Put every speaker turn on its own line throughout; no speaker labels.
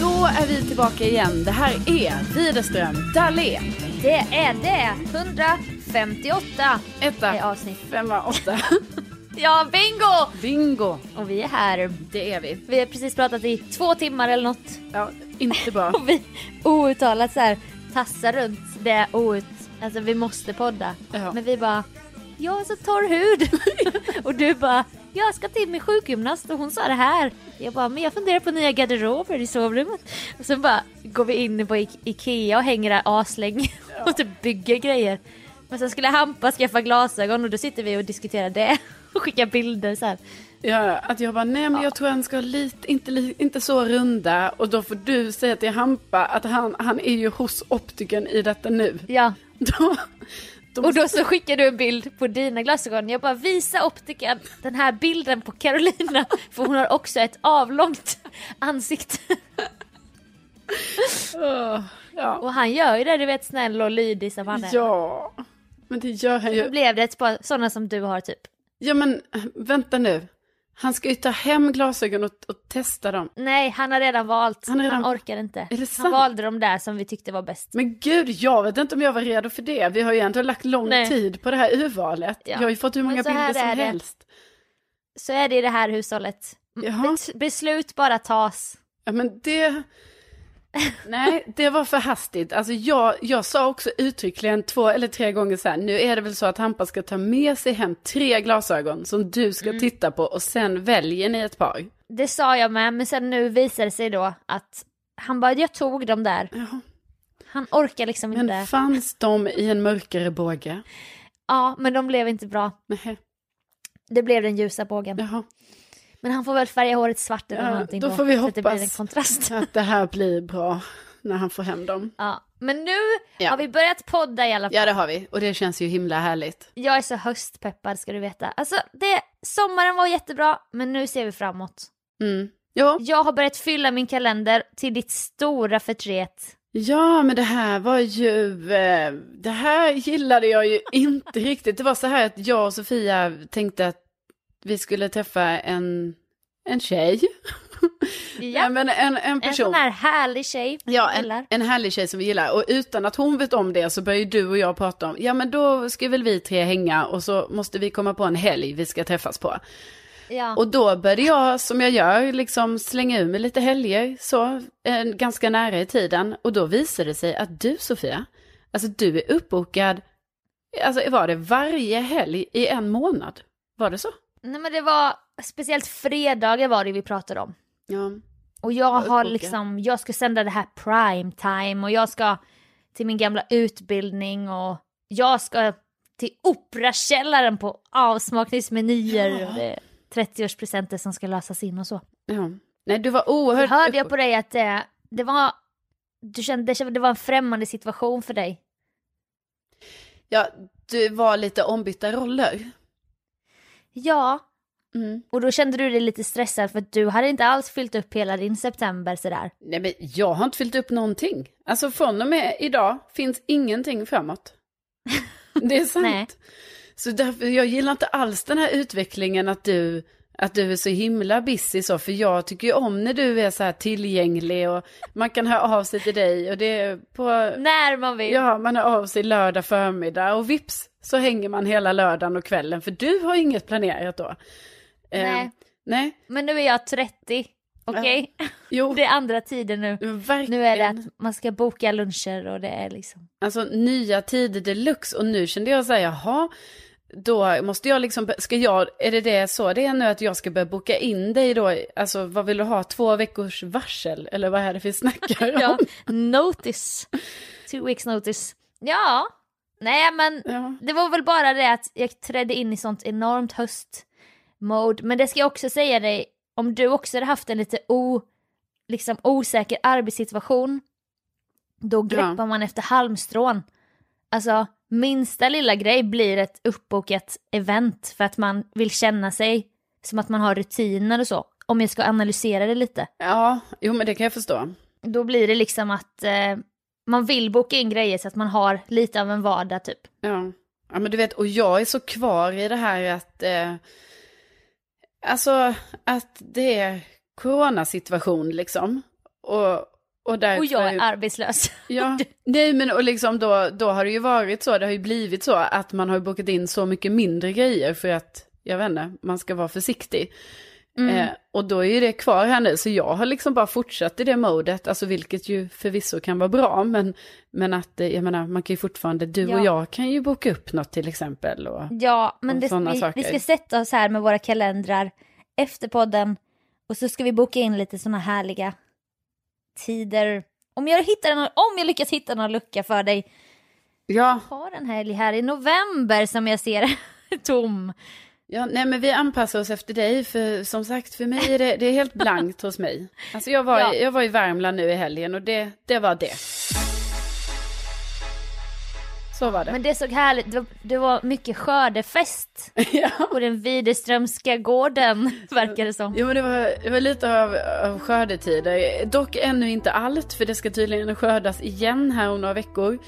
Då är vi tillbaka igen. Det här är Widerström Dahlén.
Det är det! 158
Etta,
är avsnitt.
femma, åtta.
Ja, bingo!
Bingo.
Och vi är här.
Det är vi.
Vi har precis pratat i två timmar eller något.
Ja, inte bra.
Och vi outtalat så här tassar runt det out. Alltså vi måste podda.
Ja.
Men vi bara, jag har så torr hud. och du bara, jag ska till min sjukgymnast och hon sa det här. Jag bara, men jag funderar på nya garderober i sovrummet. Och sen bara går vi in på I- Ikea och hänger där aslänge och typ bygger grejer. Men sen skulle Hampa skaffa glasögon och då sitter vi och diskuterar det och skickar bilder så här.
Ja, att jag bara, nej men jag tror han ska ha lite, inte, li- inte så runda. Och då får du säga till Hampa att han, han är ju hos optiken i detta nu.
Ja.
Då, då
Och då så skickar du en bild på dina glasögon. Jag bara visa optiken den här bilden på Carolina för hon har också ett avlångt ansikte.
Åh, ja.
Och han gör ju det du vet snäll och lydig som han är.
ja, men det gör han
Nu
ju.
blev det ett par sådana som du har typ.
Ja men vänta nu. Han ska ju ta hem glasögon och, och testa dem.
Nej han har redan valt.
Han
Han,
har redan-
orkar inte.
det
han
sant?
valde de där som vi tyckte var bäst.
Men gud, jag vet inte om jag var redo för det. Vi har ju ändå lagt lång
Nej.
tid på det här urvalet.
Ja.
Jag har ju fått hur
Men
många
så här
bilder
är
som
det.
helst.
Så är det i det här hushållet.
Jaha.
Bet- beslut bara tas.
Ja, men det... Nej, det var för hastigt. Alltså jag, jag sa också uttryckligen två eller tre gånger så här, nu är det väl så att Hampa ska ta med sig hem tre glasögon som du ska
Mm.
titta på och sen väljer ni ett par.
Det sa jag med men sen nu visar det sig då att han bara jag tog de där.
Ja,
Han orkar liksom
men
inte.
fanns de i en mörkare båge?
Ja men de blev inte bra.
Nej,
Det blev den ljusa bågen.
jaha.
Men han får väl färga håret svart eller
Ja,
någonting
då får vi
så att det blir en
hoppas.
kontrast.
Så att det här blir bra när han får hem dem.
Ja. Men nu
Ja.
har vi börjat podda i alla fall.
Ja, det har vi. Och det känns ju himla härligt.
Jag är så höstpeppad ska du veta. Alltså, det, sommaren var jättebra men nu ser vi framåt.
Mm. Ja.
Jag har börjat fylla min kalender till ditt stora förtret.
Ja, men det här var ju, eh, det här gillade jag ju inte riktigt. Det var så här att jag och Sofia tänkte att vi skulle träffa en, en tjej.
Ja.
Nej, men en, en
En
person.
sån här härlig tjej.
Ja,
Gillar.
en, en härlig tjej som vi gillar. Och utan att hon vet om det så börjar ju du och jag prata om, ja men då ska väl vi tre hänga och så måste vi komma på en helg vi ska träffas på.
Ja.
Och då började jag, som jag gör, liksom slänga ur mig lite helger så, eh, ganska nära i tiden. Och då visade det sig att du, Sofia, alltså du är uppbokad, alltså var det varje helg i en månad? Var det så?
Nej men det var, speciellt fredagar var det vi pratade om.
Ja.
Och jag har
Uppbokad.
liksom, jag ska sända det här prime time och jag ska till min gamla utbildning och jag ska till Operakällaren på avsmakningsmenyer
Ja.
och det är 30-årspresenter som ska lösas in och så.
ja. Nej, du var
Så
oerhört...
hörde jag
uppbok-
på dig eh, att det, det var, du kände, det var en främmande situation för dig.
Ja, du var lite ombytta roller.
Ja,
Mm.
och då kände du dig lite stressad för att du hade inte alls fyllt upp hela din september sådär.
Nej men jag har inte fyllt upp någonting. Alltså från och med idag finns ingenting framåt. Det är sant.
Nej.
Så därför, jag gillar inte alls den här utvecklingen att du, att du är så himla busy så, för jag tycker ju om när du är så här tillgänglig och man kan höra av sig till dig och det är på,
När man vill.
ja man hör av sig lördag förmiddag och vips så hänger man hela lördagen och kvällen för du har inget planerat då. Eh,
Nej.
nej,
Men nu är jag 30, okej?
jo,
Det är andra tider nu.
verkligen.
Nu är det att man ska boka luncher och det är liksom...
Alltså nya tider deluxe och nu kände jag så här, jaha, då måste jag liksom, ska jag, är det det så det är nu att jag ska börja boka in dig då, alltså vad vill du ha, två veckors varsel eller vad är det vi snackar om?
Ja, notice. Two weeks notice. Ja, nej men
Ja.
det var väl bara det att jag trädde in i sånt enormt höstmode. Men det ska jag också säga dig, om du också hade haft en lite o, liksom osäker arbetssituation, då greppar man efter halmstrån. Alltså, minsta lilla grej blir ett uppbokat event för att man vill känna sig som att man har rutiner och så. Om jag ska analysera det lite
ja, jo men det kan jag förstå.
då blir det liksom att eh, man vill boka in grejer så att man har lite av en vardag typ.
Ja. ja, men du vet, och jag är så kvar i det här att, eh, alltså att det är coronasituation liksom. Och, och, därför...
Och jag är arbetslös.
Ja, nej men och liksom då, då har det ju varit så, det har ju blivit så att man har ju bokat in så mycket mindre grejer för att, jag vet inte, man ska vara försiktig. Eh, och då är ju det kvar här nu, så jag har liksom bara fortsatt i det modet, alltså vilket ju förvisso kan vara bra, men, men att, eh, jag menar, man kan ju fortfarande, du
Ja.
och jag kan ju boka upp något till exempel. Och,
Ja,
Och
men det,
sådana
vi,
saker.
vi ska sätta oss här med våra kalendrar efter podden och så ska vi boka in lite sådana härliga tider. Om jag, hittar någon, om jag lyckas hitta någon lucka för dig.
ja,
Jag har en helg här i november som jag ser tom.
ja, nej men vi anpassar oss efter dig, för som sagt, för mig är det, det är helt blankt hos mig. Alltså jag var,
Ja.
i- jag var i Värmland nu i helgen och det, det var det. Så var det.
Men det såg härligt, det var, det var mycket skördefest
ja.
på den Widerströmska gården verkar det som.
Jo men det var, det var lite av, av skördetider. Dock ännu inte allt för det ska tydligen skördas igen här om några veckor.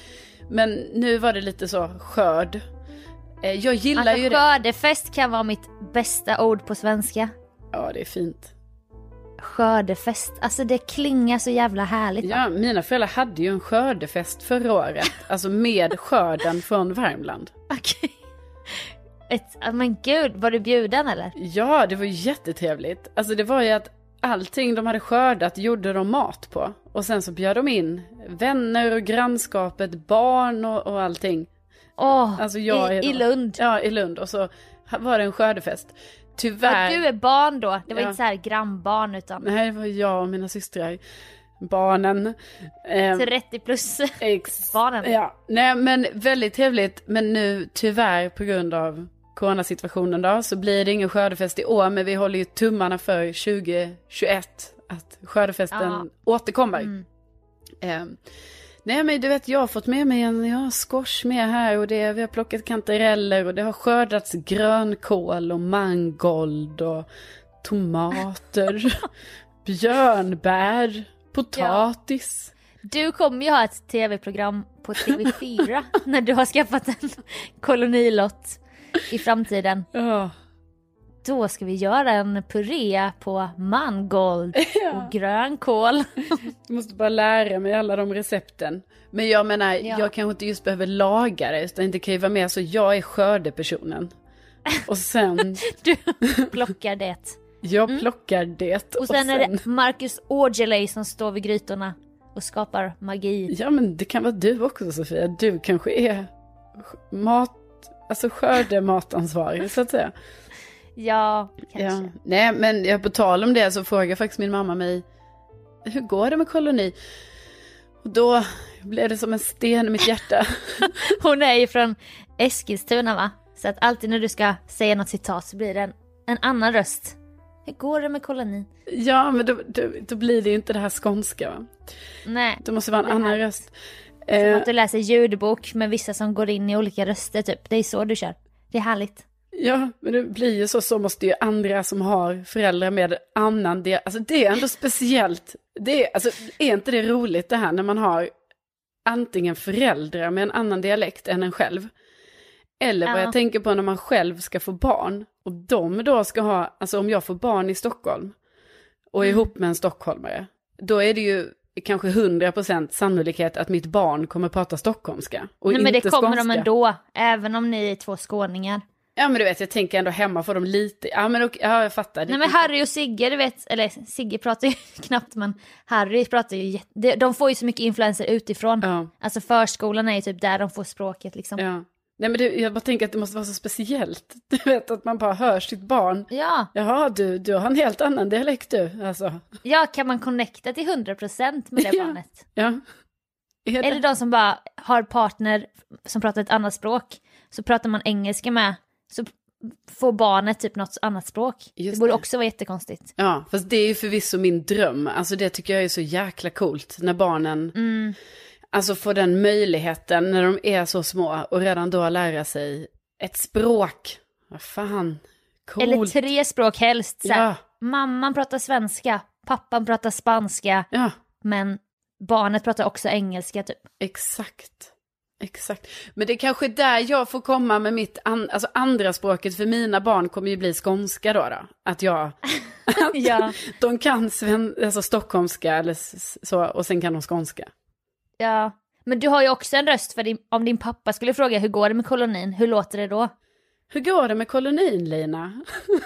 Men nu var det lite så skörd. Eh, Jag gillar
Alltså
ju det.
skördefest kan vara mitt bästa ord på svenska.
Ja det är fint.
Skördefest, alltså det klingar så jävla härligt.
Ja, mina föräldrar hade ju en skördefest förra året. Alltså med skörden från Värmland.
Okej. Ett, ah, men gud, var du bjuden eller?
Ja, det var ju jättetrevligt. Alltså det var ju att allting de hade skördat gjorde de mat på. Och sen så bjöd de in vänner och grannskapet, barn och, och allting.
Åh,
Alltså jag
i,
är då-
i Lund.
Ja, i Lund. Och så var det en skördefest. Tyvärr.
Ja, du är barn då, det var
Ja.
inte så här grannbarn utan
Nej, det var jag och mina systrar. Barnen. Eh,
30 plus.
ex-
barnen.
Ja, nej men väldigt trevligt. Men nu tyvärr på grund av coronasituationen då så blir det ingen skördefest i år. Men vi håller ju tummarna för 2021 att skördefesten
Ja.
återkommer.
Mm.
Eh, nej men du vet jag har fått med mig en, jag har squash med här och det, vi har plockat kantareller och det har skördats grönkål och mangold och tomater, björnbär, potatis.
Du kommer ju ha ett tv-program på TV4 när du har skaffat en kolonilott i framtiden.
Ja.
Då ska vi göra en puré på mangold och grönkål.
Jag måste bara lära mig alla de recepten. Men jag menar,
Ja.
jag kanske inte just behöver laga det utan det kan ju vara mer så jag är skördepersonen. Och sen,
Du plockar det.
jag plockar det.
Mm. Och sen, är det Marcus Aujalay som står vid grytorna och skapar magi.
Ja men det kan vara du också Sofia. Du kanske är sk- mat, alltså skördematansvarig så att säga.
Ja,
Ja.
kanske.
Nej men jag på tal om det så frågar faktiskt min mamma mig, hur går det med koloni? Och då blev det som en sten i mitt hjärta.
Hon är ju från Eskilstuna va? Så att alltid när du ska säga något citat så blir det en, en annan röst. Hur går det med kolonin?
ja men då, då, då blir det ju inte det här skånska va?
Nej.
Det måste vara en
Det här-
annan röst.
Som
Eh,
att du läser ljudbok med vissa som går in i olika röster typ. Det är så du kör. Det är härligt.
Ja, men det blir ju så, så måste ju andra som har föräldrar med annan del, alltså det är ändå speciellt. Det är, alltså, är inte det roligt det här när man har antingen föräldrar med en annan dialekt än en själv? Eller vad
Ja.
jag tänker på när man själv ska få barn och de då ska ha, alltså om jag får barn i Stockholm och är
Mm.
ihop med en stockholmare, då är det ju kanske 100% sannolikhet att mitt barn kommer prata stockholmska och
Nej men det
inte
kommer de
skånska.
ändå. Även om ni är två skåningar.
Ja men du vet, jag tänker ändå hemma får de lite, ja men okej, ja, jag fattar.
Nej men Harry och Sigge, du vet, eller Sigge pratar ju knappt men Harry pratar ju jätte... de- De får ju så mycket influenser utifrån.
Ja,
Alltså förskolan är ju typ där de får språket liksom. Ja,
ja. Nej men det, jag bara tänker att det måste vara så speciellt. Du vet att man bara hör sitt barn.
ja,
Jaha, du, du har en helt annan dialekt du. Alltså,
kan man connecta till 100% med det
Ja.
barnet?
ja. Är det-
Eller de som bara har partner som pratar ett annat språk, så pratar man engelska med, så får barnet typ något annat språk.
Just
det borde
det.
också vara jättekonstigt.
Ja, fast det är ju förvisso min dröm. Alltså det tycker jag är så jäkla coolt när barnen
Mm.
alltså får den möjligheten när de är så små och redan då lära sig ett språk. Vad fan, coolt.
Eller tre språk helst. Så här,
Ja,
Mamman pratar svenska, pappan pratar spanska,
ja.
men barnet pratar också engelska typ.
Exakt. Exakt. Men det är kanske är där jag får komma med mitt an- alltså andra språket för mina barn kommer ju bli skånska då. då. Att jag,
ja,
de kan sven- alltså stockholmska eller s- s- så och sen kan de skånska.
ja. Men du har ju också en röst för din, om din pappa skulle fråga hur går det med kolonin, hur låter det då?
Hur går det med kolonin Lina?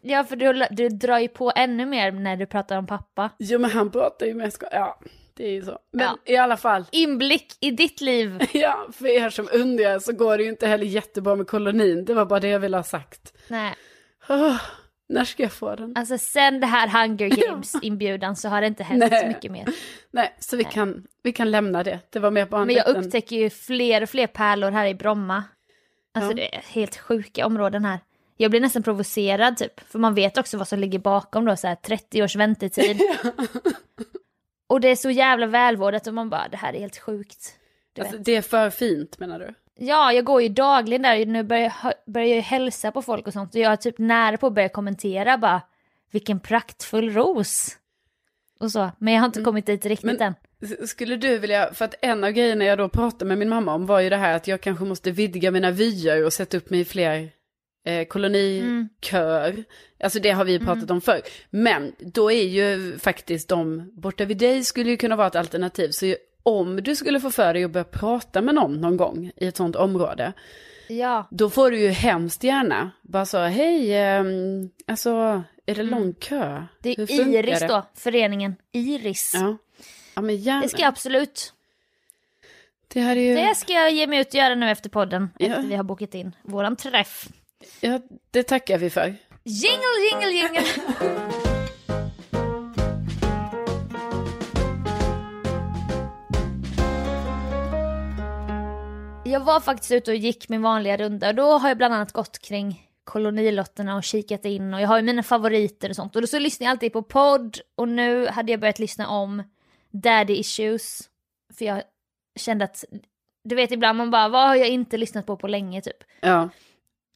Ja, för du, du drar ju på ännu mer när du pratar om pappa.
Jo men han pratar ju med skånska. Ja, det är ju så. Men
Ja.
i alla fall.
Inblick i ditt liv.
Ja, för er som undrar så går det ju inte heller jättebra med kolonin. Det var bara det jag ville ha sagt.
Nej,
Åh, när ska jag få den?
alltså sen det här Hunger Games-inbjudan så har det inte hänt
Nej.
så mycket mer.
Nej, så vi kan, vi kan lämna det. Det var mer bara en
Men jag
liten-
upptäcker ju fler och fler pärlor här i Bromma. Alltså
Ja.
det är helt sjuka områden här. Jag blir nästan provocerad typ, för man vet också vad som ligger bakom då, så här 30 års väntetid. och det är så jävla välvårdat och man bara, det här är helt sjukt. Du
Alltså,
vet.
det är för fint menar du?
Ja, jag går ju dagligen där, nu börjar jag, hö- börjar jag ju hälsa på folk och sånt och jag är typ nära på att börja kommentera bara, vilken praktfull ros. Och så, men jag har inte kommit dit riktigt
Mm. Men-
än.
S- Skulle du vilja, för att en av grejerna jag då pratade med min mamma om var ju det här att jag kanske måste vidga mina vyer och sätta upp mig i fler eh, kolonikör.
Mm.
Alltså det har vi pratat om förr. Men då är ju faktiskt de borta vid dig skulle ju kunna vara ett alternativ. Så ju- om du skulle få för dig att börja prata med någon någon gång i ett sånt område,
Ja.
då får du ju hemskt gärna bara så, hej, ehm, alltså är det lång kö?
Mm. Det
Hur
är
funkar
Iris
det?"
då, föreningen Iris.
Ja. Ja men gärna.
Det ska jag absolut.
Det här är ju...
Det ska jag ge mig ut och göra nu efter podden.
Ja.
Efter vi har bokat in våran träff.
Ja, det tackar vi för.
Jingle, jingle, jingle! Jag var faktiskt ute och gick min vanliga runda och då har jag bland annat gått kring kolonilotterna och kikat in och jag har ju mina favoriter och sånt. Och då så lyssnar jag alltid på podd och nu hade jag börjat lyssna om Daddy Issues. För jag kände att, du vet ibland man bara, vad har jag inte lyssnat på på länge typ?
Ja,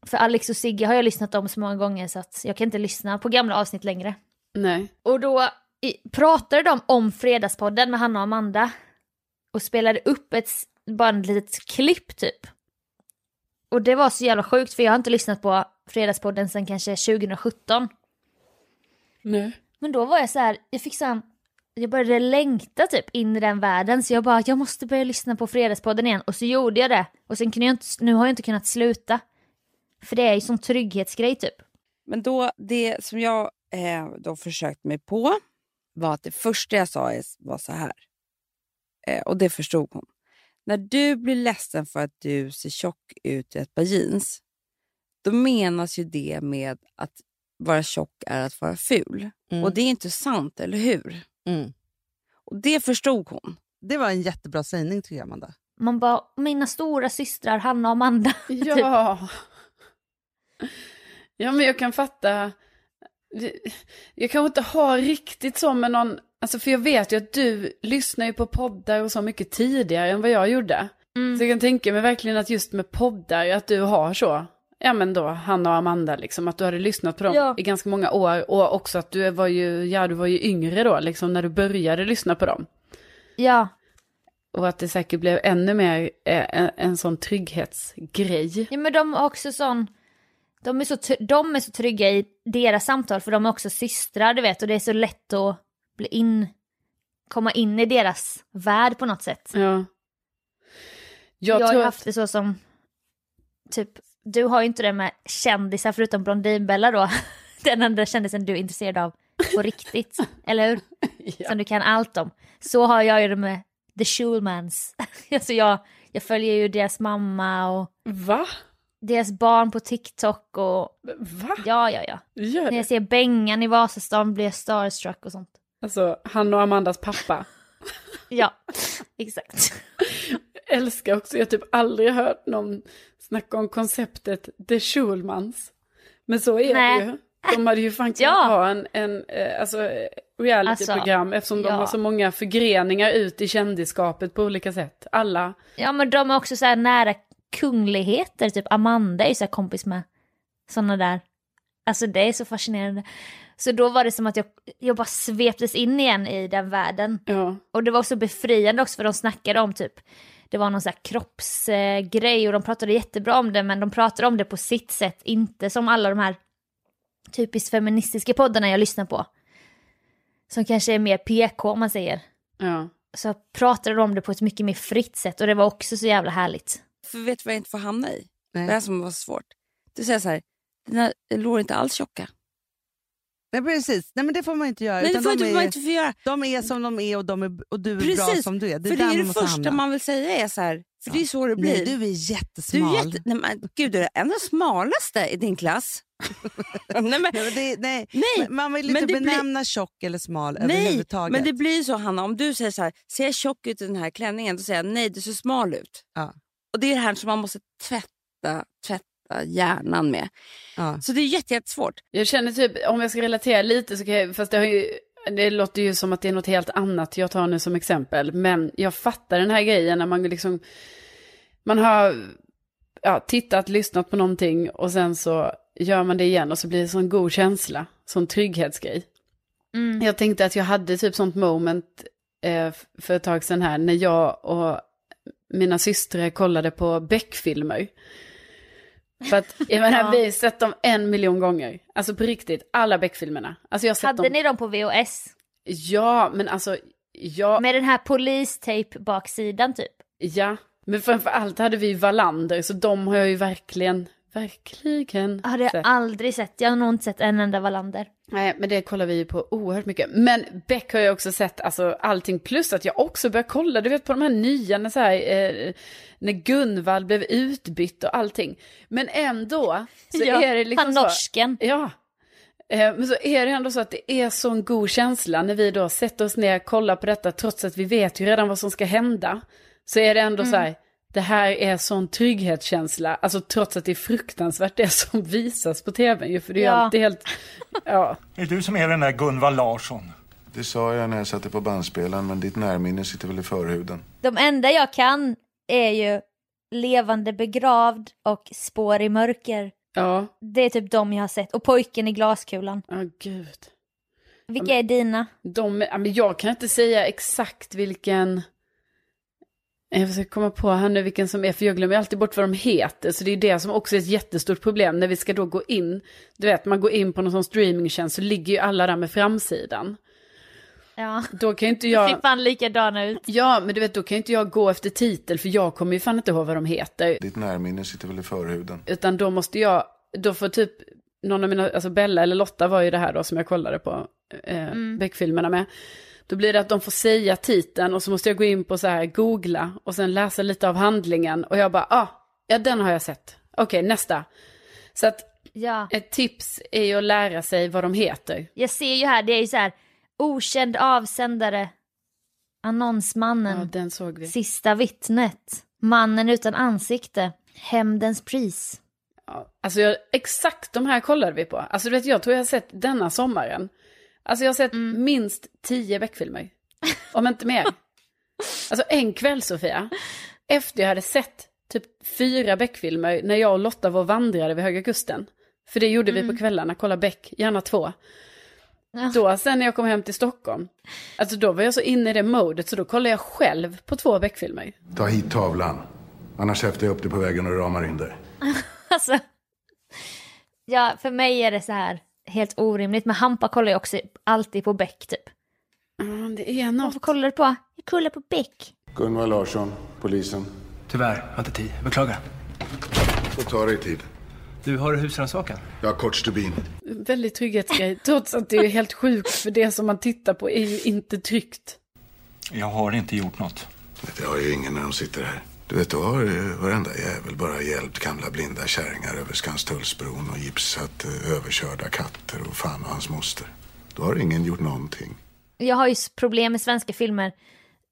För Alex och Sigge har jag lyssnat om så många gånger så att jag kan inte lyssna på gamla avsnitt längre.
nej.
Och då i, pratade de om Fredagspodden med Hanna och Amanda och spelade upp ett, s- bara ett litet klipp typ. Och det var så jävla sjukt för jag har inte lyssnat på Fredagspodden sedan kanske 2017.
Nej.
Men då var jag så här, jag fick sån, jag började längta typ in i den världen så jag bara, jag måste börja lyssna på Fredagspodden igen och så gjorde jag det. Och sen kunde jag inte, nu har jag inte kunnat sluta. För det är ju sån trygghetsgrej typ.
Men då, det som jag eh, då försökt mig på var att det första jag sa är- var så här. Eh, och det förstod hon. När du blir ledsen för att du ser tjock ut i ett par jeans, då menas ju det med att vara tjock är att vara ful.
Mm.
Och det är inte sant, eller hur?
Mm.
Och det förstod hon.
Det var en jättebra sägning tycker jag, Amanda.
Man bara, mina stora systrar Hanna och Amanda. Typ.
Ja. Ja, men jag kan fatta. Jag kanske inte har riktigt så med någon Alltså för jag vet ju att du lyssnar ju på poddar och så mycket tidigare än vad jag gjorde. Så jag kan tänka mig verkligen att just med poddar, att du har så, ja men då Hanna och Amanda liksom, att du hade lyssnat på dem
Ja.
i ganska många år och också att du var ju, ja du var ju yngre då liksom när du började lyssna på dem.
Ja,
Och att det säkert blev ännu mer eh, en, en sån trygghetsgrej.
Ja men de är också sån, de är, så, tr- de är så trygga i deras samtal för de är också systrar du vet och det är så lätt att bli in, komma in i deras värld på något sätt.
Ja. Jag,
Jag,
tror
har
att,
haft det så som, typ, du har ju inte det med kändisar förutom Blondinbella då, den enda kändisen du är intresserad av på riktigt, eller hur?
ja,
Som du kan allt om. Så har jag ju det med The Schulmans. alltså jag, jag följer ju deras mamma och
va?
deras barn på TikTok och
Va?
ja, ja, ja.
Gör
När jag
det?
ser Bengan i Vasastan blir jag starstruck och sånt.
Alltså, han och Amandas pappa.
Ja, exakt.
älskar också, jag har typ aldrig hört någon snacka om konceptet The Schulmans. Men så är
Nej.
det ju. De hade ju fan kunnat
Ja. Alltså,
ha en, en eh, alltså, eh, realityprogram eftersom de
ja.
har så många förgreningar ut i kändiskapet på olika sätt. Alla,
Ja men de är också så här nära kungligheter, typ Amanda är ju så här kompis med sådana där. Alltså det är så fascinerande. Så då var det som att jag, jag bara sveptes in igen i den världen.
ja,
Och det var också befriande också för de snackade om typ, det var någon sån här kroppsgrej och de pratade jättebra om det men de pratade om det på sitt sätt, inte som alla de här typiskt feministiska poddarna jag lyssnar på. Som kanske är mer PK om man säger.
ja.
Så pratade de om det på ett mycket mer fritt sätt och det var också så jävla härligt.
För vet du vad jag inte får hamna i?
Nej.
Det här som var svårt. Du säger så här, dina lår är inte alls tjocka.
Nej, precis. Nej, men det får man inte göra.
Nej, det
utan
får
de,
inte,
är,
man inte få göra.
de är som de är och, de är, och du är bra
Precis,
som du är. Det är
för det
där man
är det
måste
första
hamna.
man vill säga är så här, för det är så det blir.
Nej, du är
Du
jättesmal.
är jätte, nej, men, gud, du är en av de smalaste i din klass. nej, men,
Nej, men det, nej.
nej,
Men Man vill
men
inte
det blir-
benämna tjock eller smal
nej.
överhuvudtaget.
men det blir ju så Hanna, om du säger så här, ser jag tjock ut i den här klänningen? Då säger jag nej, du ser smal ut.
Ja.
Och det är det här som man måste tvätta, tvätta hjärnan med.
Ja.
Så det är jätte, jättesvårt.
Jag känner typ, om jag ska relatera lite så kan jag, fast det har ju, det låter ju som att det är något helt annat jag tar nu som exempel, men jag fattar den här grejen när man liksom, man har ja, tittat, lyssnat på någonting och sen så gör man det igen och så blir det sån god känsla, sån trygghetsgrej.
Mm.
Jag tänkte att jag hade typ sånt moment eh, f- för ett tag sedan här när jag och mina systrar kollade på Beck-filmer. För att jag menar,
Ja.
vi har sett dem en miljon gånger. Alltså på riktigt, alla Beck-filmerna. Alltså jag har sett
Hade
dem.
ni dem på VHS?
Ja, men alltså, ja,
Med den här polistejp-baksidan typ?
ja. Men framför allt hade vi Wallander, så de har jag ju verkligen, verkligen
Har jag
sett.
aldrig sett, jag har nog inte sett en enda Wallander.
Nej, men det kollar vi ju på oerhört mycket. Men Beck har jag också sett alltså, allting, plus att jag också börjar kolla, du vet på de här nya, när, så här, eh, när Gunvald blev utbytt och allting. Men ändå så
Ja,
är det liksom
Han
så.
norsken.
Ja. Eh, Men så är det ändå så att det är sån god känsla när vi då sätter oss ner och kollar på detta trots att vi vet ju redan vad som ska hända. Så är det ändå så här, det här är sån trygghetskänsla, alltså trots att det är fruktansvärt det som visas på tvn ju, för det är ju
Ja.
alltid helt, ja.
Är det du som är den där Gunvald Larsson?
Det sa jag när jag satte på bandspelaren, men ditt närminne sitter väl i förhuden?
De enda jag kan är ju Levande begravd och Spår i mörker.
Ja,
Det är typ de jag har sett. Och Pojken i glaskulan.
ja gud.
Vilka är dina?
De, ja, men jag kan inte säga exakt vilken... eh, Jag försöker komma på här nu vilken som är, för jag glömmer alltid bort vad de heter. Så det är det som också är ett jättestort problem när vi ska då gå in. Du vet, man går in på någon sån streamingtjänst så ligger ju alla där med framsidan.
Ja,
Då kan ju inte
de
jag...
ser fan likadana ut.
Ja, men du vet, då kan ju inte jag gå efter titel för jag kommer ju fan inte ihåg vad de heter.
Ditt närminne sitter väl i förhuden?
Utan då måste jag, då får typ någon av mina, alltså Bella eller Lotta var ju det här då som jag kollade på eh, Beck-filmerna med. Då blir det att de får säga titeln och så måste jag gå in på så här googla och sen läsa lite av handlingen och jag bara, ah, ja den har jag sett. Okej, nästa. Så att
Ja,
ett tips är ju att lära sig vad de heter.
jag ser ju här, det är ju så här okänd avsändare, annonsmannen,
Ja, den såg vi.
sista vittnet, mannen utan ansikte, hämndens pris.
Ja, Alltså jag, exakt de här kollade vi på. Alltså du vet, jag tror jag har sett denna sommaren. Alltså jag har sett
Mm.
minst tio Beck-filmer. Om inte mer. Alltså en kväll Sofia, efter jag hade sett typ fyra Beck-filmer när jag och Lotta var och vandrade vid Höga Kusten. För det gjorde vi på kvällarna, kolla Beck, gärna två.
Ja.
Då sen när jag kom hem till Stockholm, alltså då var jag så inne i det modet så då kollade jag själv på två Beck-filmer.
Ta hit tavlan. Annars häftar jag upp dig på vägen och ramar in dig.
Alltså, ja, för mig är det så här helt orimligt. Men Hampa kollar ju också alltid på Beck typ.
Mm, det är
Varför
något.
kollar du på? Jag kollar på Beck.
Gunvor Larsson, polisen.
Tyvärr, jag har inte tid. Beklagar.
Får ta dig tid.
Du, har du husrannsakan?
Jag har kort stubin.
Väldigt trygghetsgrej, trots att det är helt sjukt för det som man tittar på är ju inte tryggt.
Jag har inte gjort något.
Det har ju ingen när de sitter här. Du vet, då har ju varenda jävel bara hjälpt gamla blinda kärringar över Skanstullsbron och gipsat eh, överkörda katter och fan och hans moster. Då har ingen gjort någonting.
Jag har ju s- problem med svenska filmer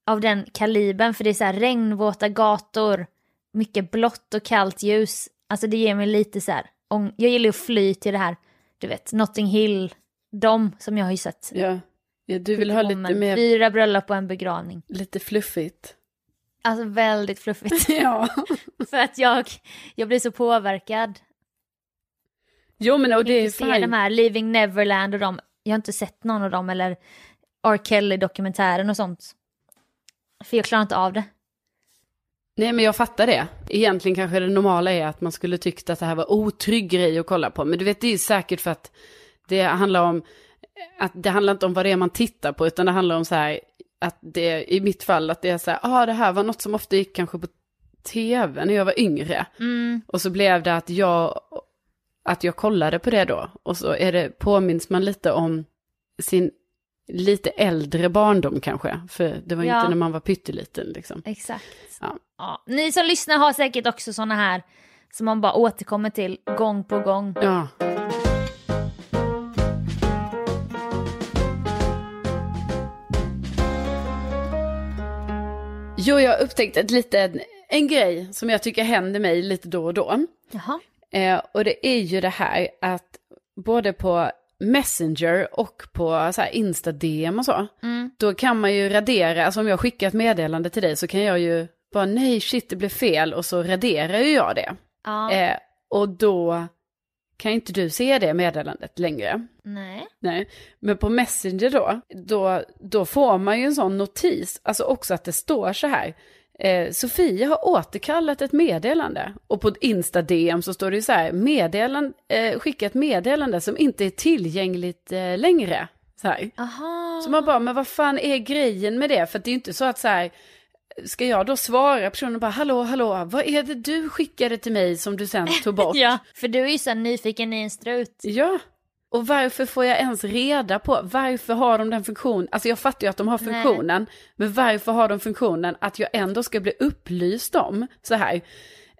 av den kalibern. För det är så här regnvåta gator, mycket blått och kallt ljus. Alltså det ger mig lite så här ång- Jag gillar ju att fly till det här, du vet, Notting Hill. De som jag har ju sett.
Ja, ja du vill ha
Om
lite
en-
mer,
Fyra bröllop och en begravning.
lite fluffigt.
Alltså väldigt fluffigt.
Ja.
för att jag, jag blir så påverkad.
Jo men och det är
inte se de
fine.
här Leaving Neverland och de. Jag har inte sett någon av dem eller R. Kelly-dokumentären och sånt. För jag klarar inte av det.
Nej men jag fattar det. Egentligen kanske det normala är att man skulle tyckt att det här var otrygg grej att kolla på. Men du vet det är säkert för att det handlar om, att det handlar inte om vad det är man tittar på utan det handlar om så här, att det i mitt fall att det är så här, ah, det här var något som ofta gick kanske på tv när jag var yngre. Och så blev det att jag, att jag kollade på det då. Och så är det, påminns man lite om sin lite äldre barndom kanske. För det var ju
Ja.
inte när man var pytteliten liksom.
Exakt.
Ja.
Ja. Ni som lyssnar har säkert också såna här som man bara återkommer till gång på gång.
Ja. Jo, jag har upptäckt ett liten, en grej som jag tycker händer mig lite då och då.
Jaha.
Eh, och det är ju det här att både på Messenger och på så här Insta-DM och så,
Mm.
då kan man ju radera, alltså om jag skickar ett meddelande till dig så kan jag ju bara nej shit det blev fel och så raderar ju jag det.
Ja.
Eh, och då kan inte du se det meddelandet längre.
Nej.
Nej. Men på Messenger då, då, då får man ju en sån notis, alltså också att det står så här. Eh, Sofia har återkallat ett meddelande. Och på Insta-DM så står det ju så här, meddelan, eh, skicka ett meddelande som inte är tillgängligt eh, längre. Så här.
Aha.
Så man bara, men vad fan är grejen med det? För att det är ju inte så att så här, ska jag då svara personen och bara, hallå, hallå, vad är det du skickade till mig som du sen tog bort?
Ja, för du är ju så här nyfiken i en strut.
Ja, och varför får jag ens reda på, varför har de den funktionen? Alltså jag fattar ju att de har
Nej.
funktionen, men varför har de funktionen att jag ändå ska bli upplyst om så här,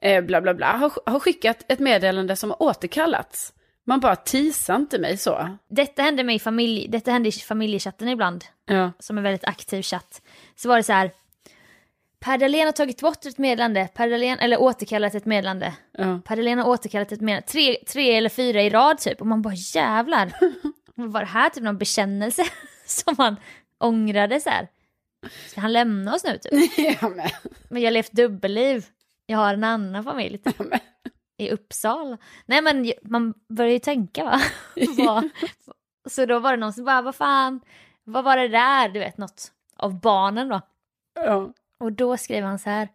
eh, bla bla bla, har, har skickat ett meddelande som har återkallats. Man bara teasar inte mig så.
Detta hände mig i familj, detta hände i familjechatten ibland.
Ja.
som är väldigt aktiv chatt, så var det så här. Per Dahlén har tagit bort ett meddelande, per Dahlén, eller återkallat ett meddelande.
Ja.
Per Dahlén har återkallat ett meddelande, tre, tre eller fyra i rad typ. Och man bara jävlar. Var det här typ någon bekännelse som han ångrade så här? Ska han lämna oss nu typ?
ja, men,
Men jag har levt dubbelliv. Jag har en annan familj typ,
ja, men.
i Uppsala. Nej men ju- man börjar ju tänka va? Vad- så då var det någon som bara, vad fan, vad var det där? Du vet något av barnen då.
Ja.
Och då skrev han så här.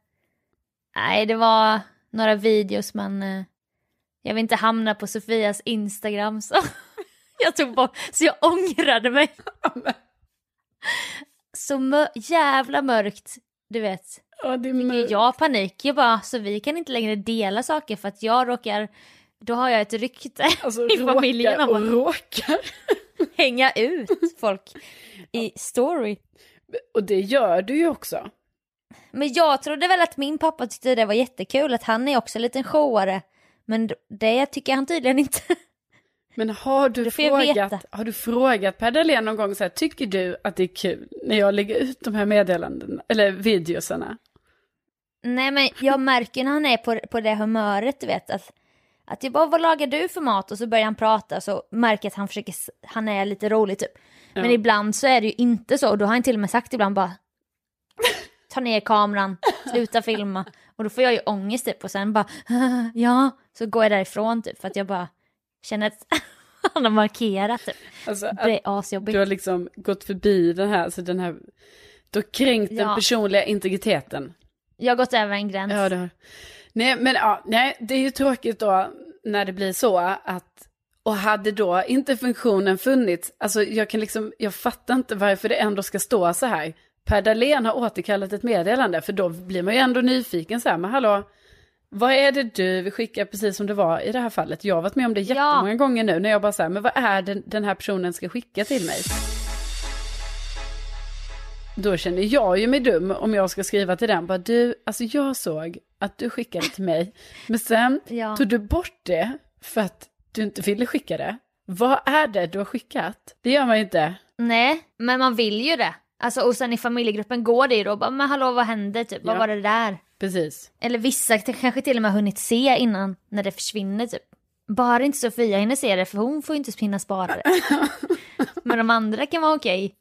Nej, det var några videos men eh, jag vill inte hamna på Sofias Instagram så jag tog bort, så jag ångrade mig. Så mö- jävla mörkt, du vet.
Ja, det är
Fick ju
mörkt.
jag panik, jag bara så vi kan inte längre dela saker för att jag råkar, då har jag ett rykte
Alltså,
i familjen
råkar
om
och
att
råkar.
hänga ut folk i story.
Och det gör du ju också.
Men jag trodde väl att min pappa tyckte det var jättekul, att han är också en liten showare. Men det tycker han tydligen inte.
Men har du,
Då får jag
frågat,
veta.
har du frågat Per Dahlén någon gång så här, tycker du att det är kul när jag lägger ut de här meddelandena, eller videosarna?
Nej men jag märker när han är på, på det humöret du vet, att Att jag bara, vad lagar du för mat? Och så börjar han prata så märker jag att han, försöker, s- han är lite rolig typ. Men
Ja.
ibland så är det ju inte så och då har han till och med sagt ibland bara ta ner kameran, sluta filma. Och då får jag ju ångest typ och sen bara ja, så går jag därifrån typ för att jag bara känner att han har markerat typ.
Alltså,
Det är asjobbigt.
Du har liksom gått förbi den här, alltså den här, du har kränkt den
Ja.
personliga integriteten.
Jag har gått över en gräns.
Ja, det har. Nej, men ja, nej, det är ju tråkigt då när det blir så att, och hade då inte funktionen funnits, alltså jag kan liksom, jag fattar inte varför det ändå ska stå så här. Per Dahlén har återkallat ett meddelande, för då blir man ju ändå nyfiken så här, men hallå, vad är det du vill skicka precis som det var i det här fallet? Jag har varit med om det
Ja.
jättemånga gånger nu, när jag bara så här, men vad är det den här personen ska skicka till mig? Då känner jag ju mig dum om jag ska skriva till den. Bara, du, alltså jag såg att du skickade till mig, men sen
Ja.
tog du bort det för att du inte ville skicka det. Vad är det du har skickat? Det gör man ju inte.
Nej, men man vill ju det. Alltså, och sen i familjegruppen går det ju då bara, men hallå vad hände typ, vad
Ja.
var det där?
Precis.
Eller vissa t- kanske till och med har hunnit se innan när det försvinner typ. Bara inte Sofia hinner se det för hon får ju inte hinna spara det. men de andra kan vara okej.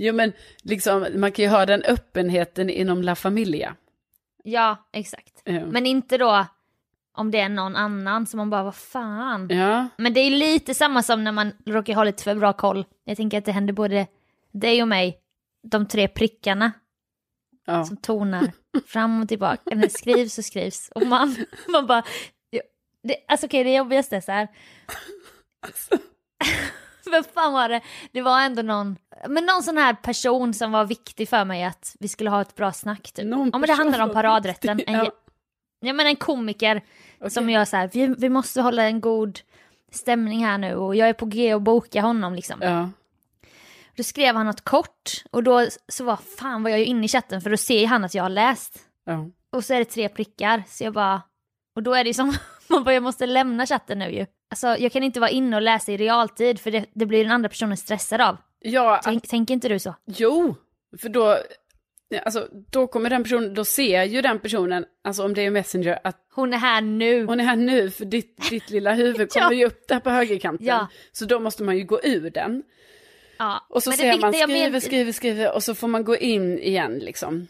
Jo men liksom, man kan ju ha den öppenheten inom La Familia.
Ja, exakt.
Ja.
Men inte då om det är någon annan som man bara, vad fan.
Ja,
Men det är lite samma som när man råkar ha lite för bra koll. Jag tänker att det händer både dig och mig, de tre prickarna
ja.
som tonar fram och tillbaka. Eller skrivs och skrivs. Och man, man bara... ja, Det, alltså okej, det jobbigaste är så här... Vem fan var det? Det var ändå någon, men någon sån här person som var viktig för mig att vi skulle ha ett bra snack typ.
Någon
ja men det handlar om
person var
paradrätten.
viktig,
En,
ja.
ja. ja men en komiker
Okej.
som gör så här, vi, vi måste hålla en god stämning här nu och jag är på G och boka honom liksom.
ja.
Då skrev han något kort och då så var fan var jag ju inne i chatten för då ser ju han att jag har läst.
ja.
Och så är det tre prickar, så jag bara... Och då är det ju som, man bara jag måste lämna chatten nu ju. Alltså jag kan inte vara inne och läsa i realtid för det, det blir den andra personen stressad av.
ja
Tänk, Tänker inte du så?
Jo, för då, ja, alltså, då kommer den personen, då ser ju den personen, alltså om det är Messenger, att
Hon är här nu.
Mm. hon är här nu för ditt, ditt lilla huvud
Ja.
kommer ju upp där på högerkanten.
Ja.
Så då måste man ju gå ur den.
Ja.
Och så
Men det
ser man
viktiga jag
skriver,
men-
skriver, skriver och så får man gå in igen liksom.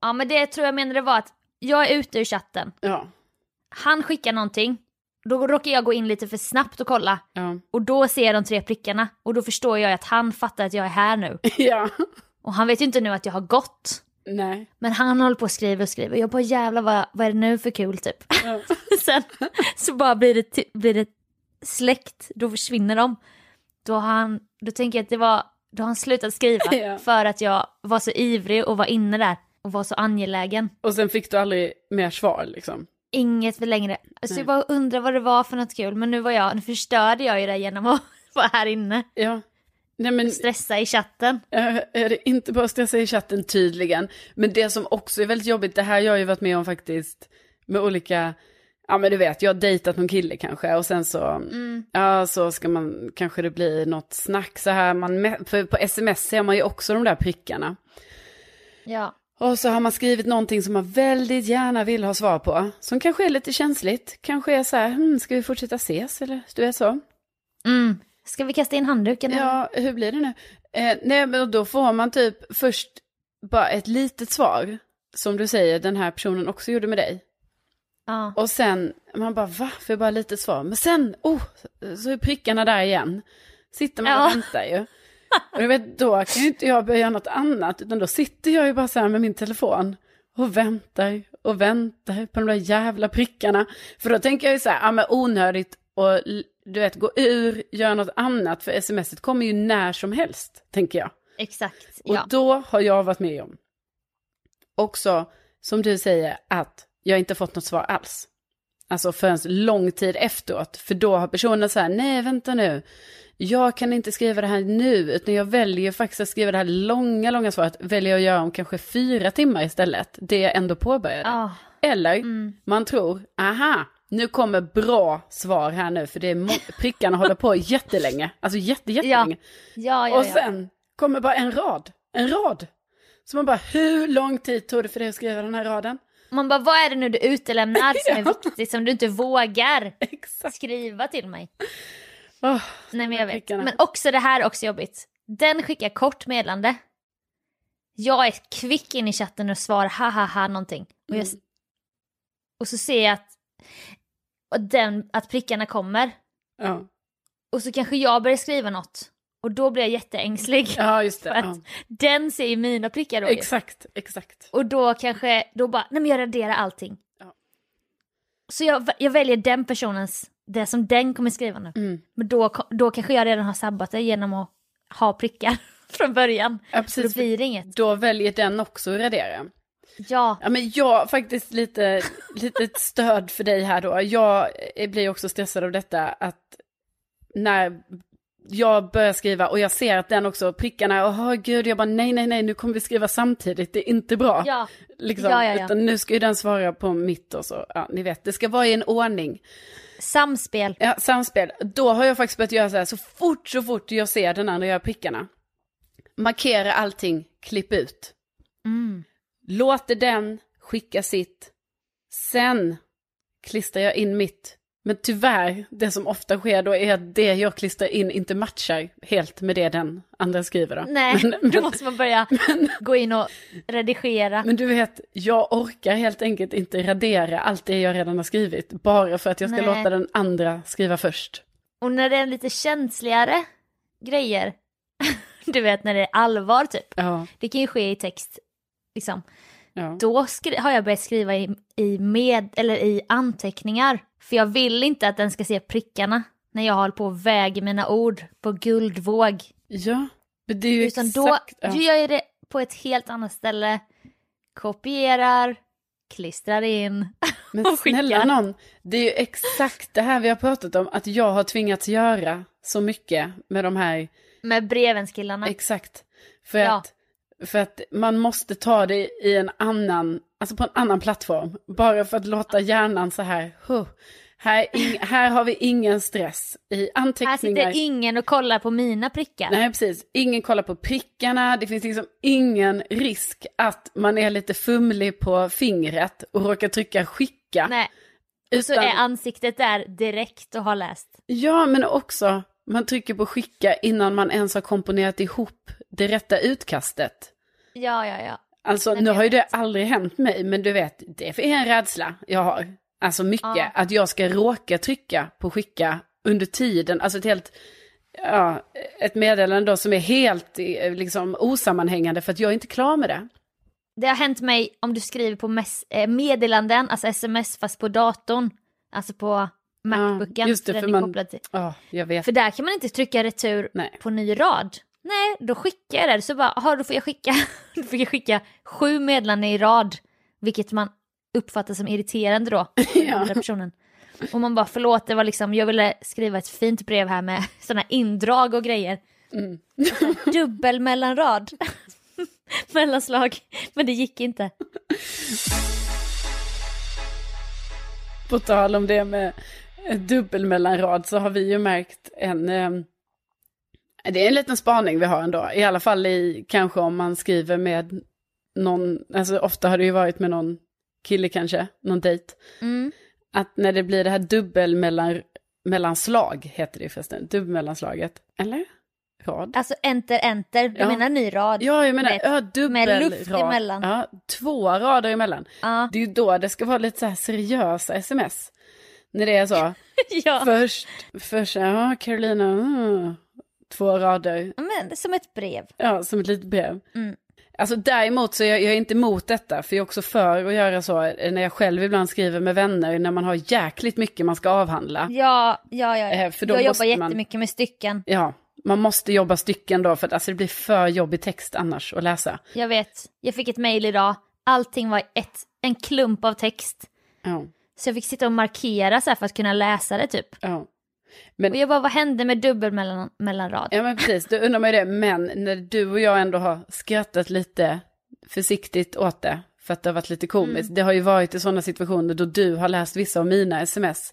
Ja men det tror jag menade var att jag är ute ur chatten,
Ja,
han skickar någonting, då råkar jag gå in lite för snabbt och kolla.
ja,
Och då ser jag de tre prickarna och då förstår jag att han fattar att jag är här nu.
ja.
Och han vet ju inte nu att jag har gått.
nej.
Men han håller på och skriver och skriver. Jag bara jävlar vad, vad är det nu för kul typ.
Ja.
Sen så bara blir det, ty- blir det släckt, då försvinner de. Då, har han, då tänker jag att det var, då har han slutat skriva
Ja.
för att jag var så ivrig och var inne där och var så angelägen.
Och sen fick du aldrig mer svar liksom.
Inget för längre. Så jag bara undrar vad det var för något kul men nu var jag, nu förstörde jag ju det genom att vara här inne.
Ja. Nej, men,
Stressa i chatten.
Eh, är det inte bara stressa i chatten tydligen. Men det som också är väldigt jobbigt, det här jag har ju varit med om faktiskt med olika, ja men du vet, jag har dejtat någon kille kanske och sen så, ja så ska man, kanske det blir något snack så här, man, mä- för på sms ser man ju också de där prickarna.
Ja.
Och så har man skrivit någonting som man väldigt gärna vill ha svar på, som kanske är lite känsligt, kanske är så här, hmm, ska vi fortsätta ses eller du är så.
Mm. Ska vi kasta in handduken? eller?
Ja, hur blir det nu? Eh, nej, men då får man typ först bara ett litet svar, som du säger, den här personen också gjorde med dig.
ja.
Och sen, man bara va, för bara lite svar. Men sen, oh, så är prickarna där igen. Sitter man
Ja.
och väntar ju. Och du vet, då kan ju inte jag börja göra något annat, utan då sitter jag ju bara så här med min telefon. Och väntar och väntar på de där jävla prickarna. För då tänker jag ju så här, ja men onödigt och l- du vet, gå ur, göra något annat, för smset kommer ju när som helst, tänker jag.
Exakt.
Och
Ja.
då har jag varit med om, också som du säger, att jag inte fått något svar alls. Alltså förrän lång tid efteråt, för då har personen så här, nej vänta nu, jag kan inte skriva det här nu, utan jag väljer faktiskt att skriva det här långa, långa svaret, väljer jag att göra om kanske fyra timmar istället, det jag ändå påbörjade.
Ja. Mm.
Eller man tror, aha, nu kommer bra svar här nu, för det är må- prickarna håller på jättelänge, alltså jätte, jättelänge.
Ja, ja,
Och
ja.
sen kommer bara en rad, en rad. Så man bara, hur lång tid tog det för dig att skriva den här raden?
Man bara, vad är det nu du utelämnar som är viktigt som du inte vågar skriva till mig?
Åh,
Nej men jag vet.
prickarna.
Men också det här är också jobbigt. Den skickar kort meddelande. Jag är kvick in i chatten och svarar ha ha ha någonting. Och, jag,
Mm.
och så ser jag att, och den, att prickarna kommer.
ja.
Och så kanske jag börjar skriva något. Och då blir jag jätteängslig.
ja, just det.
För att
Ja.
den ser ju mina prickar då ju.
Exakt, exakt.
Och då kanske, då bara, nej men jag raderar allting.
Ja.
Så jag, jag väljer den personens, det som den kommer skriva nu.
Mm.
Men då, ko- då kanske jag redan har sabbat det genom att ha prickar från början.
Ja,
Så då
precis.
blir det inget.
Då väljer den också att radera.
Ja,
Ja, men jag har faktiskt lite, lite ett stöd för dig här då. Jag eh, blir också stressad av detta att när jag börjar skriva och jag ser att den också prickarna, åh oh, gud, jag bara nej, nej, nej, nu kommer vi skriva samtidigt, det är inte bra.
ja,
liksom.
ja, ja, ja.
Utan nu ska ju den svara på mitt och så, ja, ni vet, det ska vara i en ordning.
samspel.
Ja, samspel. Då har jag faktiskt börjat göra så här, så fort, så fort jag ser den andra göra prickarna, markera allting, klipp ut.
Mm.
Låter den skicka sitt, sen klistrar jag in mitt. Men tyvärr, det som ofta sker då är att det jag klistrar in inte matchar helt med det den andra skriver då.
Nej,
men,
då
men,
måste man börja gå in och redigera.
men du vet, jag orkar helt enkelt inte radera allt det jag redan har skrivit, bara för att jag ska
Nej.
låta den andra skriva först.
Och när det är lite känsligare grejer, du vet när det är allvar typ,
Ja,
det kan ju ske i text, liksom.
ja.
då skri- har jag börjat skriva i, i, med, eller i anteckningar. För jag vill inte att den ska se prickarna när jag håller på och väger mina ord på guldvåg.
Ja, men det är ju
Utan då
exakt... ja.
gör jag det på ett helt annat ställe, kopierar, klistrar in.
Men
och
snälla
skickar.
någon, det är ju exakt det här vi har pratat om, att jag har tvingats göra så mycket med de här,
Med brevenskillarna.
exakt. För,
Ja.
att, för att man måste ta det i en annan, alltså på en annan plattform, bara för att låta hjärnan så här, huh, här, ing, här har vi ingen stress i
Här
anteckningar.
sitter ingen och kollar på mina prickar.
Nej, precis. Ingen kollar på prickarna, det finns liksom ingen risk att man är lite fumlig på fingret och råkar trycka skicka.
Nej. Och så
Utan-
är ansiktet där direkt och har läst.
Ja, men också man trycker på skicka innan man ens har komponerat ihop det rätta utkastet.
Ja, ja, ja.
Alltså
Nej,
nu
men
har ju
jag
det
vet.
aldrig hänt mig, men du vet, det är en rädsla jag har. Alltså mycket,
Ja.
att jag ska råka trycka på skicka under tiden, alltså ett helt, ja, ett meddelande då som är helt eh, liksom osammanhängande för att jag är inte klar med det.
Det har hänt mig om du skriver på mess- eh, meddelanden, alltså sms fast på datorn. Alltså på Macbooken.
just det,
den
för
är
man-
kopplad till.
Ja, jag vet.
för där kan man inte trycka retur
Nej.
på ny rad. Nej, då skickar jag det. Så bara, aha, då får jag skicka, då får jag skicka sju meddelanden i rad. Vilket man uppfattar som irriterande då, för den andra personen. Och man bara, förlåt, det var liksom, jag ville skriva ett fint brev här med sådana indrag och grejer.
Mm.
Alltså, dubbel mellanrad. Mellanslag. Men det gick inte.
På tal om det med dubbel mellanrad så har vi ju märkt en... eh, Det är en liten spaning vi har ändå, i alla fall i kanske om man skriver med någon, alltså ofta har det ju varit med någon kille kanske, någon dejt.
Mm.
Att när det blir det här dubbel mellan, mellanslag, heter det ju förresten, dubbelmellanslaget, eller? Rad?
Alltså enter, enter. Du
Ja.
menar ny rad?
Ja, jag menar,
Med-
ja, dubbel
med luft
rad.
emellan.
Ja, två rader emellan.
Ja.
Det är ju då det ska vara lite så här seriösa sms. När det är så,
ja.
Först, först ja, Carolina, mm, två rader,
Men, det är som ett brev.
ja, som ett litet brev.
Mm.
Alltså däremot så är jag, jag är inte emot detta, för jag är också för att göra så eh, när jag själv ibland skriver med vänner, när man har jäkligt mycket man ska avhandla.
Ja, ja, ja.
Eh,
ja.
för då
jag
måste
jobbar
man-
jättemycket med stycken.
Ja, man måste jobba stycken då, för att alltså, det blir för jobbig text annars att läsa.
Jag vet. Jag fick ett mejl idag. Allting var ett, en klump av text.
Ja,
Så jag fick sitta och markera så här för att kunna läsa det typ.
ja.
Och jag bara, vad hände med dubbel mellan, mellanrad?
Ja men precis, då undrar man ju det. Men när du och jag ändå har skrattat lite försiktigt åt det, för att det har varit lite komiskt.
Mm.
Det har ju varit i sådana situationer då du har läst vissa av mina sms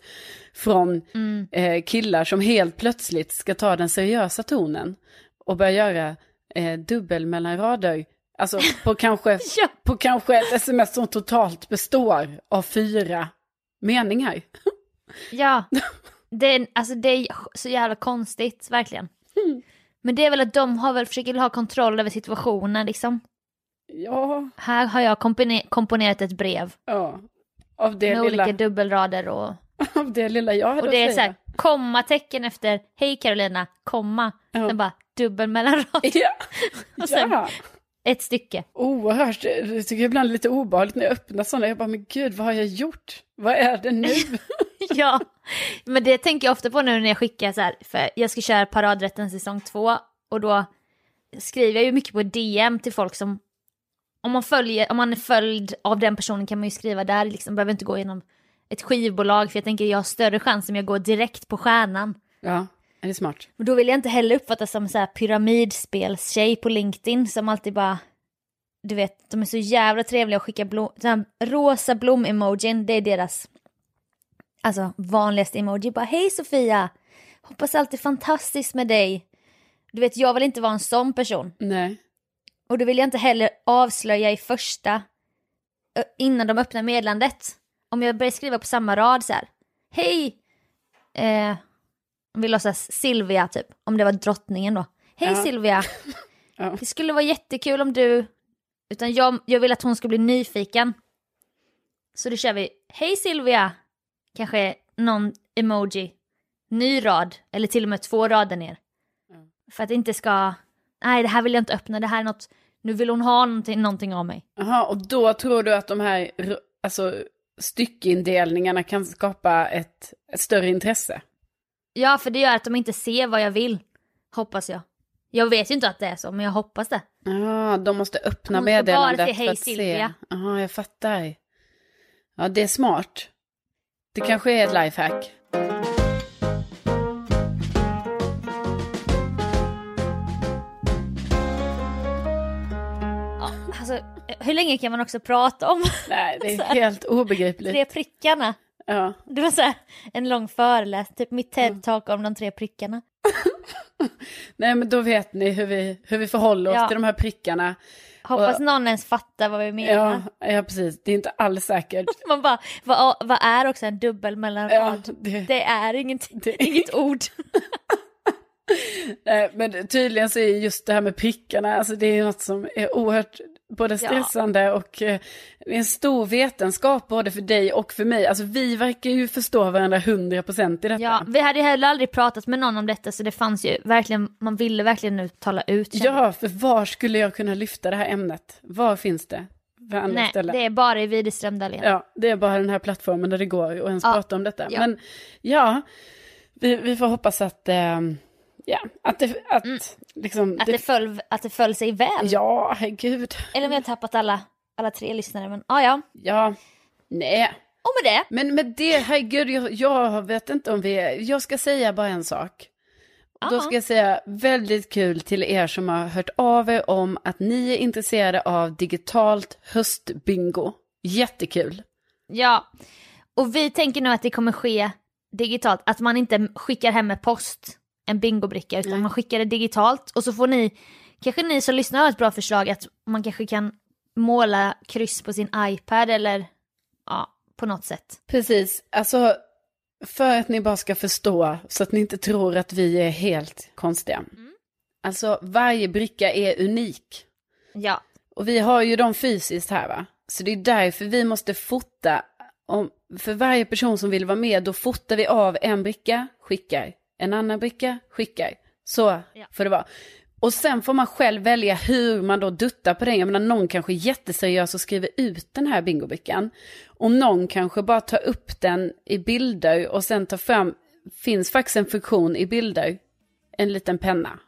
från
Mm.
eh, killar som helt plötsligt ska ta den seriösa tonen och börja göra eh, dubbel mellan rader. Alltså på kanske,
Ja.
på kanske ett sms som totalt består av fyra meningar.
Ja, det är, alltså det är så jävla konstigt, verkligen.
Hmm.
Men det är väl att de har väl försöker ha kontroll över situationen liksom.
Ja,
Här har jag kompone- komponerat ett brev
ja. Av det,
med
lilla,
olika dubbelrader och,
av det lilla jag hade
och det är
att
så här,
säga.
kommatecken efter hej Carolina, komma,
Ja.
sen bara dubbel mellanrad
Ja,
och sen
ja.
ett stycke.
oerhört. Jag tycker ibland det är lite obehagligt när jag öppnar sådana. Jag bara, men gud, vad har jag gjort? Vad är det nu?
Ja, men det tänker jag ofta på nu när jag skickar så här, för jag ska köra paradrätten säsong två och då skriver jag ju mycket på DM till folk som, om man, följer, om man är följd av den personen kan man ju skriva där, liksom behöver inte gå genom ett skivbolag för jag tänker jag har större chans om jag går direkt på stjärnan.
Ja, är det smart?
Men då vill jag inte heller uppfattas som så här pyramidspelstjej på LinkedIn som alltid bara, du vet, de är så jävla trevliga och skickar blom, den här rosa blom-emojin, det är deras alltså, vanligaste emoji. Bara hej Sofia, hoppas allt är fantastiskt med dig. Du vet, jag vill inte vara en sån person.
Nej.
Och då vill jag inte heller avslöja i första, ö, innan de öppnar meddelandet. Om jag börjar skriva på samma rad så här. Hej! Eh, om vi låtsas Silvia typ, om det var drottningen då. Hej
Ja.
Silvia!
Ja.
Det skulle vara jättekul om du... Utan jag, jag vill att hon ska bli nyfiken. Så då kör vi, hej Silvia! Kanske någon emoji. Ny rad, eller till och med två rader ner. För att det inte ska, nej det här vill jag inte öppna, det här är något, nu vill hon ha någonting, någonting av mig.
Jaha, och då tror du att de här r- alltså, styckindelningarna kan skapa ett, ett större intresse?
Ja, för det gör att de inte ser vad jag vill, hoppas jag. Jag vet ju inte att det är så, men jag hoppas det.
Ja, de måste öppna
De måste bara
meddelandet
se, "Hej,
för att
Silvia."
se. Ja, jag fattar. Ja, det är smart. Det kanske är ett lifehack.
Ja, alltså, hur länge kan man också prata om
Nej, det
Så
är
här.
helt
tre
obegripligt.
prickarna?
Ja.
Det var så här, en lång föreläsning, typ mitt TED-talk om de tre prickarna.
Nej, men då vet ni hur vi, hur vi förhåller oss
Ja.
till de här prickarna.
Hoppas
Och-
någon ens fattar vad vi menar.
Ja, ja, precis. Det är inte alls säkert.
Man bara, vad, vad är också en dubbel
Ja,
mellanrad?
det,
Det är inget,
Det-
inget ord.
Nej, Men tydligen så är just det här med prickarna, alltså det är något som är oerhört både stressande och eh, det är en stor vetenskap både för dig och för mig. Alltså vi verkar ju förstå varandra 100% i detta.
Ja, vi hade ju heller aldrig pratat med någon om detta så det fanns ju verkligen, man ville verkligen nu tala ut. kände jag.
ja, för var skulle jag kunna lyfta det här ämnet? Var finns det? För andra
Nej,
ställen?
det är bara i Widerström Dahlén.
Ja, det är bara den här plattformen där det går att ens
Ja.
prata om detta.
Ja.
Men ja, vi, vi får hoppas att, eh, ja, att det, att, liksom,
Mm. Att, det föll, att det föll sig väl.
ja, herregud,
Eller om jag tappat alla, alla tre lyssnare, men ah, ja.
ja, nej.
Och med det,
Men med det, herregud, jag, jag vet inte om vi är... Jag ska säga bara en sak. Och Då
Ja.
ska jag säga väldigt kul till er som har hört av er om att ni är intresserade av digitalt höstbingo. Jättekul.
ja. Och vi tänker nu att det kommer ske digitalt, att man inte skickar hem med post en bingobricka utan man skickar det digitalt och så får ni, kanske ni som lyssnar har ett bra förslag att man kanske kan måla kryss på sin iPad eller ja, på något sätt.
Precis, alltså för att ni bara ska förstå så att ni inte tror att vi är helt konstiga. Alltså varje bricka är unik.
Ja,
Och vi har ju dem fysiskt här va? Så det är därför vi måste fota. Om, för varje person som vill vara med, då fotar vi av en bricka, skickar. En annan bricka, skickar. Så
Ja.
får det vara. Och sen får man själv välja hur man då duttar på den. Jag menar någon kanske är jätteseriös och skriver ut den här bingobrickan. Och någon kanske bara tar upp den i bilder och sen tar fram, finns faktiskt en funktion i bilder. En liten penna.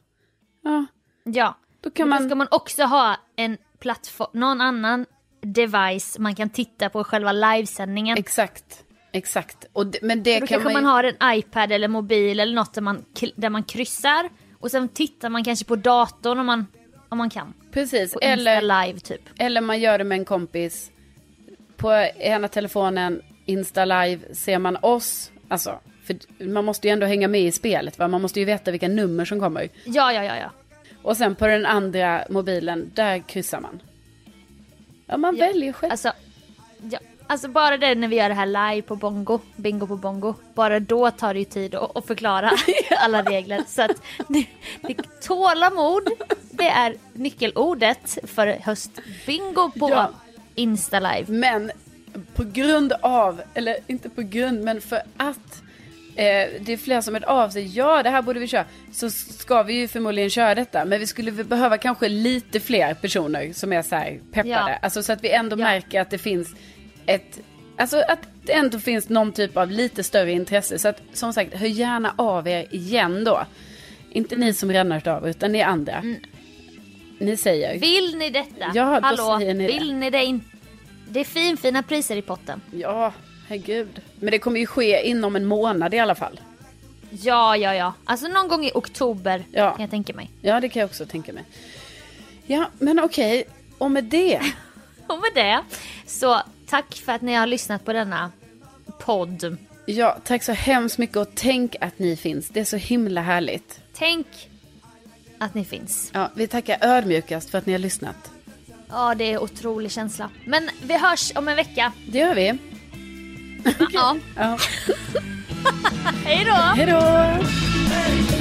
Ja,
ja.
då kan
Då
man...
ska man också ha en plattform, någon annan device man kan titta på själva livesändningen.
Exakt, exakt. Och det, men det
Då
kan man,
kanske man
ju-
har en iPad eller mobil eller något där man, kl- där man kryssar och sen tittar man kanske på datorn om man, om man kan.
Precis,
På Insta
eller,
live typ.
eller man gör det med en kompis. På ena telefonen, Insta live, ser man oss. Alltså, för man måste ju ändå hänga med i spelet, va? man måste ju veta vilka nummer som kommer.
Ja, ja, ja, ja.
Och sen på den andra mobilen, där kryssar man. Ja, man
Ja.
väljer själv.
Alltså, ja, alltså bara det när vi gör det här live på Bongo, Bingo på Bongo, bara då tar det ju tid att, att förklara alla regler. Så att det, det, tålamod, det är nyckelordet för höstbingo på
Ja.
Insta live.
Men på grund av, eller inte på grund, men för att eh, det är flera som hört av sig. Ja, det här borde vi köra. Så ska vi ju förmodligen köra detta. Men vi skulle väl behöva kanske lite fler personer som är så här peppade.
Ja.
Alltså så att vi ändå
Ja.
märker att det finns ett, alltså att det ändå finns någon typ av lite större intresse. Så att som sagt, hör gärna av er igen då. Inte ni som redan hört av er, utan ni andra.
Mm.
Ni säger.
Vill ni detta?
Ja, då
Hallå,
säger ni det.
vill ni det inte? Det är fin, fina priser i potten.
Ja, herregud. Men det kommer ju ske inom en månad i alla fall.
Ja, ja, ja. Alltså någon gång i oktober
Ja.
kan jag tänka mig.
Ja, det kan jag också tänka mig. Ja, men okej. Och med det.
Och med det så tack för att ni har lyssnat på denna podd.
Ja, tack så hemskt mycket och tänk att ni finns. Det är så himla härligt.
Tänk att ni finns.
Ja, vi tackar ödmjukast för att ni har lyssnat.
Ja, det är en otrolig känsla. Men vi hörs om en vecka.
Det gör vi.
Ja.
Ja.
Hej då!
Hej då!